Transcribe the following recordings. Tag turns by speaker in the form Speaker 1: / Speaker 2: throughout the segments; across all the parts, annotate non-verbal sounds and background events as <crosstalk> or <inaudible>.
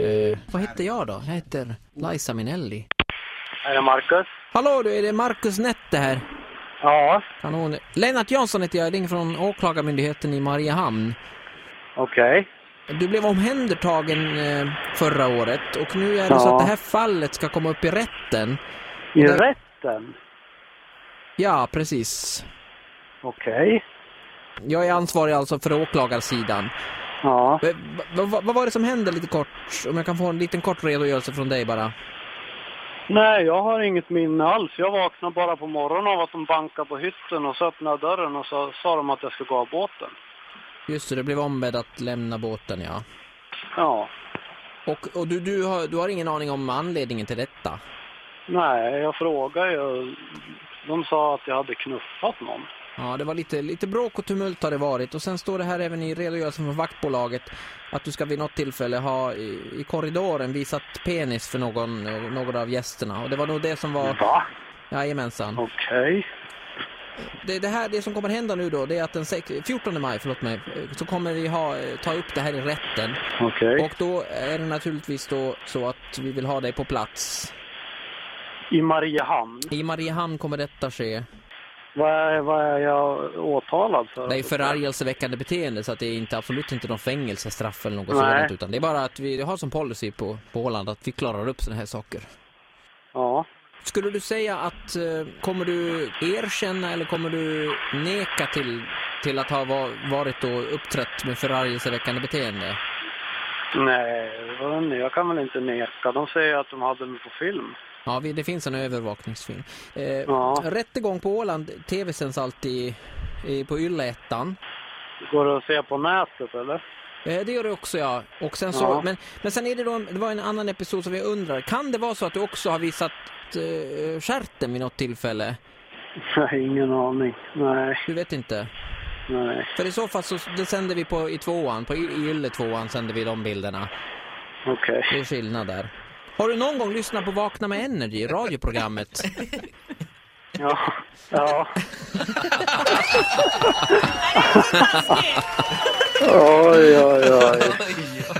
Speaker 1: Eh, vad heter jag då? Jag heter Liza Minelli.
Speaker 2: Är det Marcus?
Speaker 1: Hallå du, är det Marcus Nette här?
Speaker 2: Ja,
Speaker 1: Kanon. Lennart Jansson heter jag, jag ringer från Åklagarmyndigheten i Mariehamn.
Speaker 2: okej.
Speaker 1: Du blev omhändertagen eh, förra året och nu är det så
Speaker 2: Ja.
Speaker 1: att det här fallet ska komma upp i rätten.
Speaker 2: I
Speaker 1: Det-
Speaker 2: rätten?
Speaker 1: Ja, precis.
Speaker 2: Okej.
Speaker 1: Jag är ansvarig alltså för åklagarsidan.
Speaker 2: Ja.
Speaker 1: Eh, va- va- Vad var det som hände lite kort? Om jag kan få en liten kort redogörelse från dig bara.
Speaker 2: Nej, jag har inget minne alls. Jag vaknade bara på morgonen av att de bankade på hytten och så öppnade jag dörren och så sa de att jag skulle gå av båten.
Speaker 1: Just det, du blev ombedd att lämna båten, ja.
Speaker 2: Ja.
Speaker 1: Och, och du, du, har, du har ingen aning om anledningen till detta?
Speaker 2: Nej, jag frågade ju. De sa att jag hade knuffat någon.
Speaker 1: Ja, det var lite, lite bråk och tumult har det varit. Och sen står det här även i redogörelsen från vaktbolaget att du ska vid något tillfälle ha i, i korridoren visat penis för någon, eh, någon av gästerna. Och det var nog det som var...
Speaker 2: Va?
Speaker 1: Jajamensan.
Speaker 2: Okej.
Speaker 1: Det, det, här, det som kommer hända nu då, det är att den sex- 14 maj, förlåt mig, eh, så kommer vi ha, eh, ta upp det här i rätten.
Speaker 2: Okej.
Speaker 1: Och då är det naturligtvis då så att vi vill ha dig på plats.
Speaker 2: I Mariehamn?
Speaker 1: I Mariehamn kommer detta ske.
Speaker 2: Vad är, vad är jag åtalad för?
Speaker 1: Det är förargelseväckande beteende så att det är inte, absolut inte någon fängelsestraff eller något
Speaker 2: Nej.
Speaker 1: sådant utan det är bara att vi har som policy på, på Åland att vi klarar upp sådana här saker.
Speaker 2: Ja.
Speaker 1: Skulle du säga att eh, kommer du erkänna eller kommer du neka till, till att ha va, varit och uppträtt med förargelseväckande beteende?
Speaker 2: Nej, vad vet ni, jag kan väl inte neka. De säger att de hade mig på film.
Speaker 1: Ja, vi, det finns en övervakningsfilm. Eh,
Speaker 2: Ja.
Speaker 1: Rättegång på Åland, tv sänds alltid i, på Ylleettan.
Speaker 2: Går det att se på nätet eller?
Speaker 1: Eh, Det gör det också ja. Och sen så,
Speaker 2: Ja.
Speaker 1: men, men sen är det då, en- det var en annan episod som jag undrar, kan det vara så att du också har visat eh, stjärten vid något tillfälle?
Speaker 2: Nej, ingen aning. Nej,
Speaker 1: Du vet inte.
Speaker 2: nej.
Speaker 1: För i så fall så det sänder vi på i tvåan, på Y- i Ylle tvåan sänder vi de bilderna.
Speaker 2: Okej.
Speaker 1: Det är skillnad där. Har du någon gång lyssnat på Vakna med Energy, radioprogrammet?
Speaker 2: Ja. Ja. oj, oj, oj.
Speaker 3: <laughs>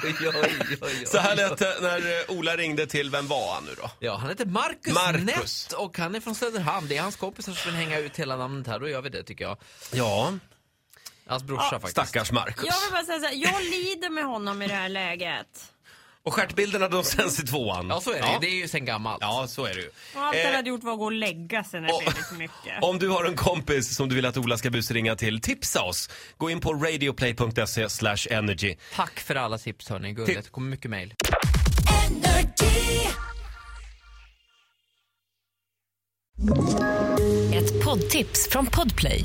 Speaker 3: Oj, oj, oj, oj,
Speaker 4: Så här
Speaker 3: oj.
Speaker 4: lät det när eh, Ola ringde till, vem var han nu då?
Speaker 3: Ja, han heter Marcus,
Speaker 4: Marcus.
Speaker 3: Nett och han är från Söderhamn. Det är hans kompisar som vill hänga ut hela namnet här, då gör vi det tycker jag.
Speaker 4: Ja,
Speaker 3: Hans brorsa faktiskt.
Speaker 4: stackars Marcus.
Speaker 5: <laughs> Jag vill bara säga så här, jag lider med honom i det här läget.
Speaker 4: Och stjärtbilderna de sänds i tvåan.
Speaker 3: Ja, så är det.
Speaker 4: Ja,
Speaker 3: Det är ju sen gammalt.
Speaker 4: ja så är det ju.
Speaker 5: Och allt
Speaker 4: Eh,
Speaker 5: han hade gjort var att gå och lägga sig när det
Speaker 4: och-
Speaker 5: blev för mycket.
Speaker 4: Om du har en kompis som du vill att Ola ska busringa till, tipsa oss. Gå in på radioplay.se slash energy.
Speaker 3: Tack för alla tips hörni, gulligt. Det kommer mycket mejl.
Speaker 6: Ett poddtips från Podplay.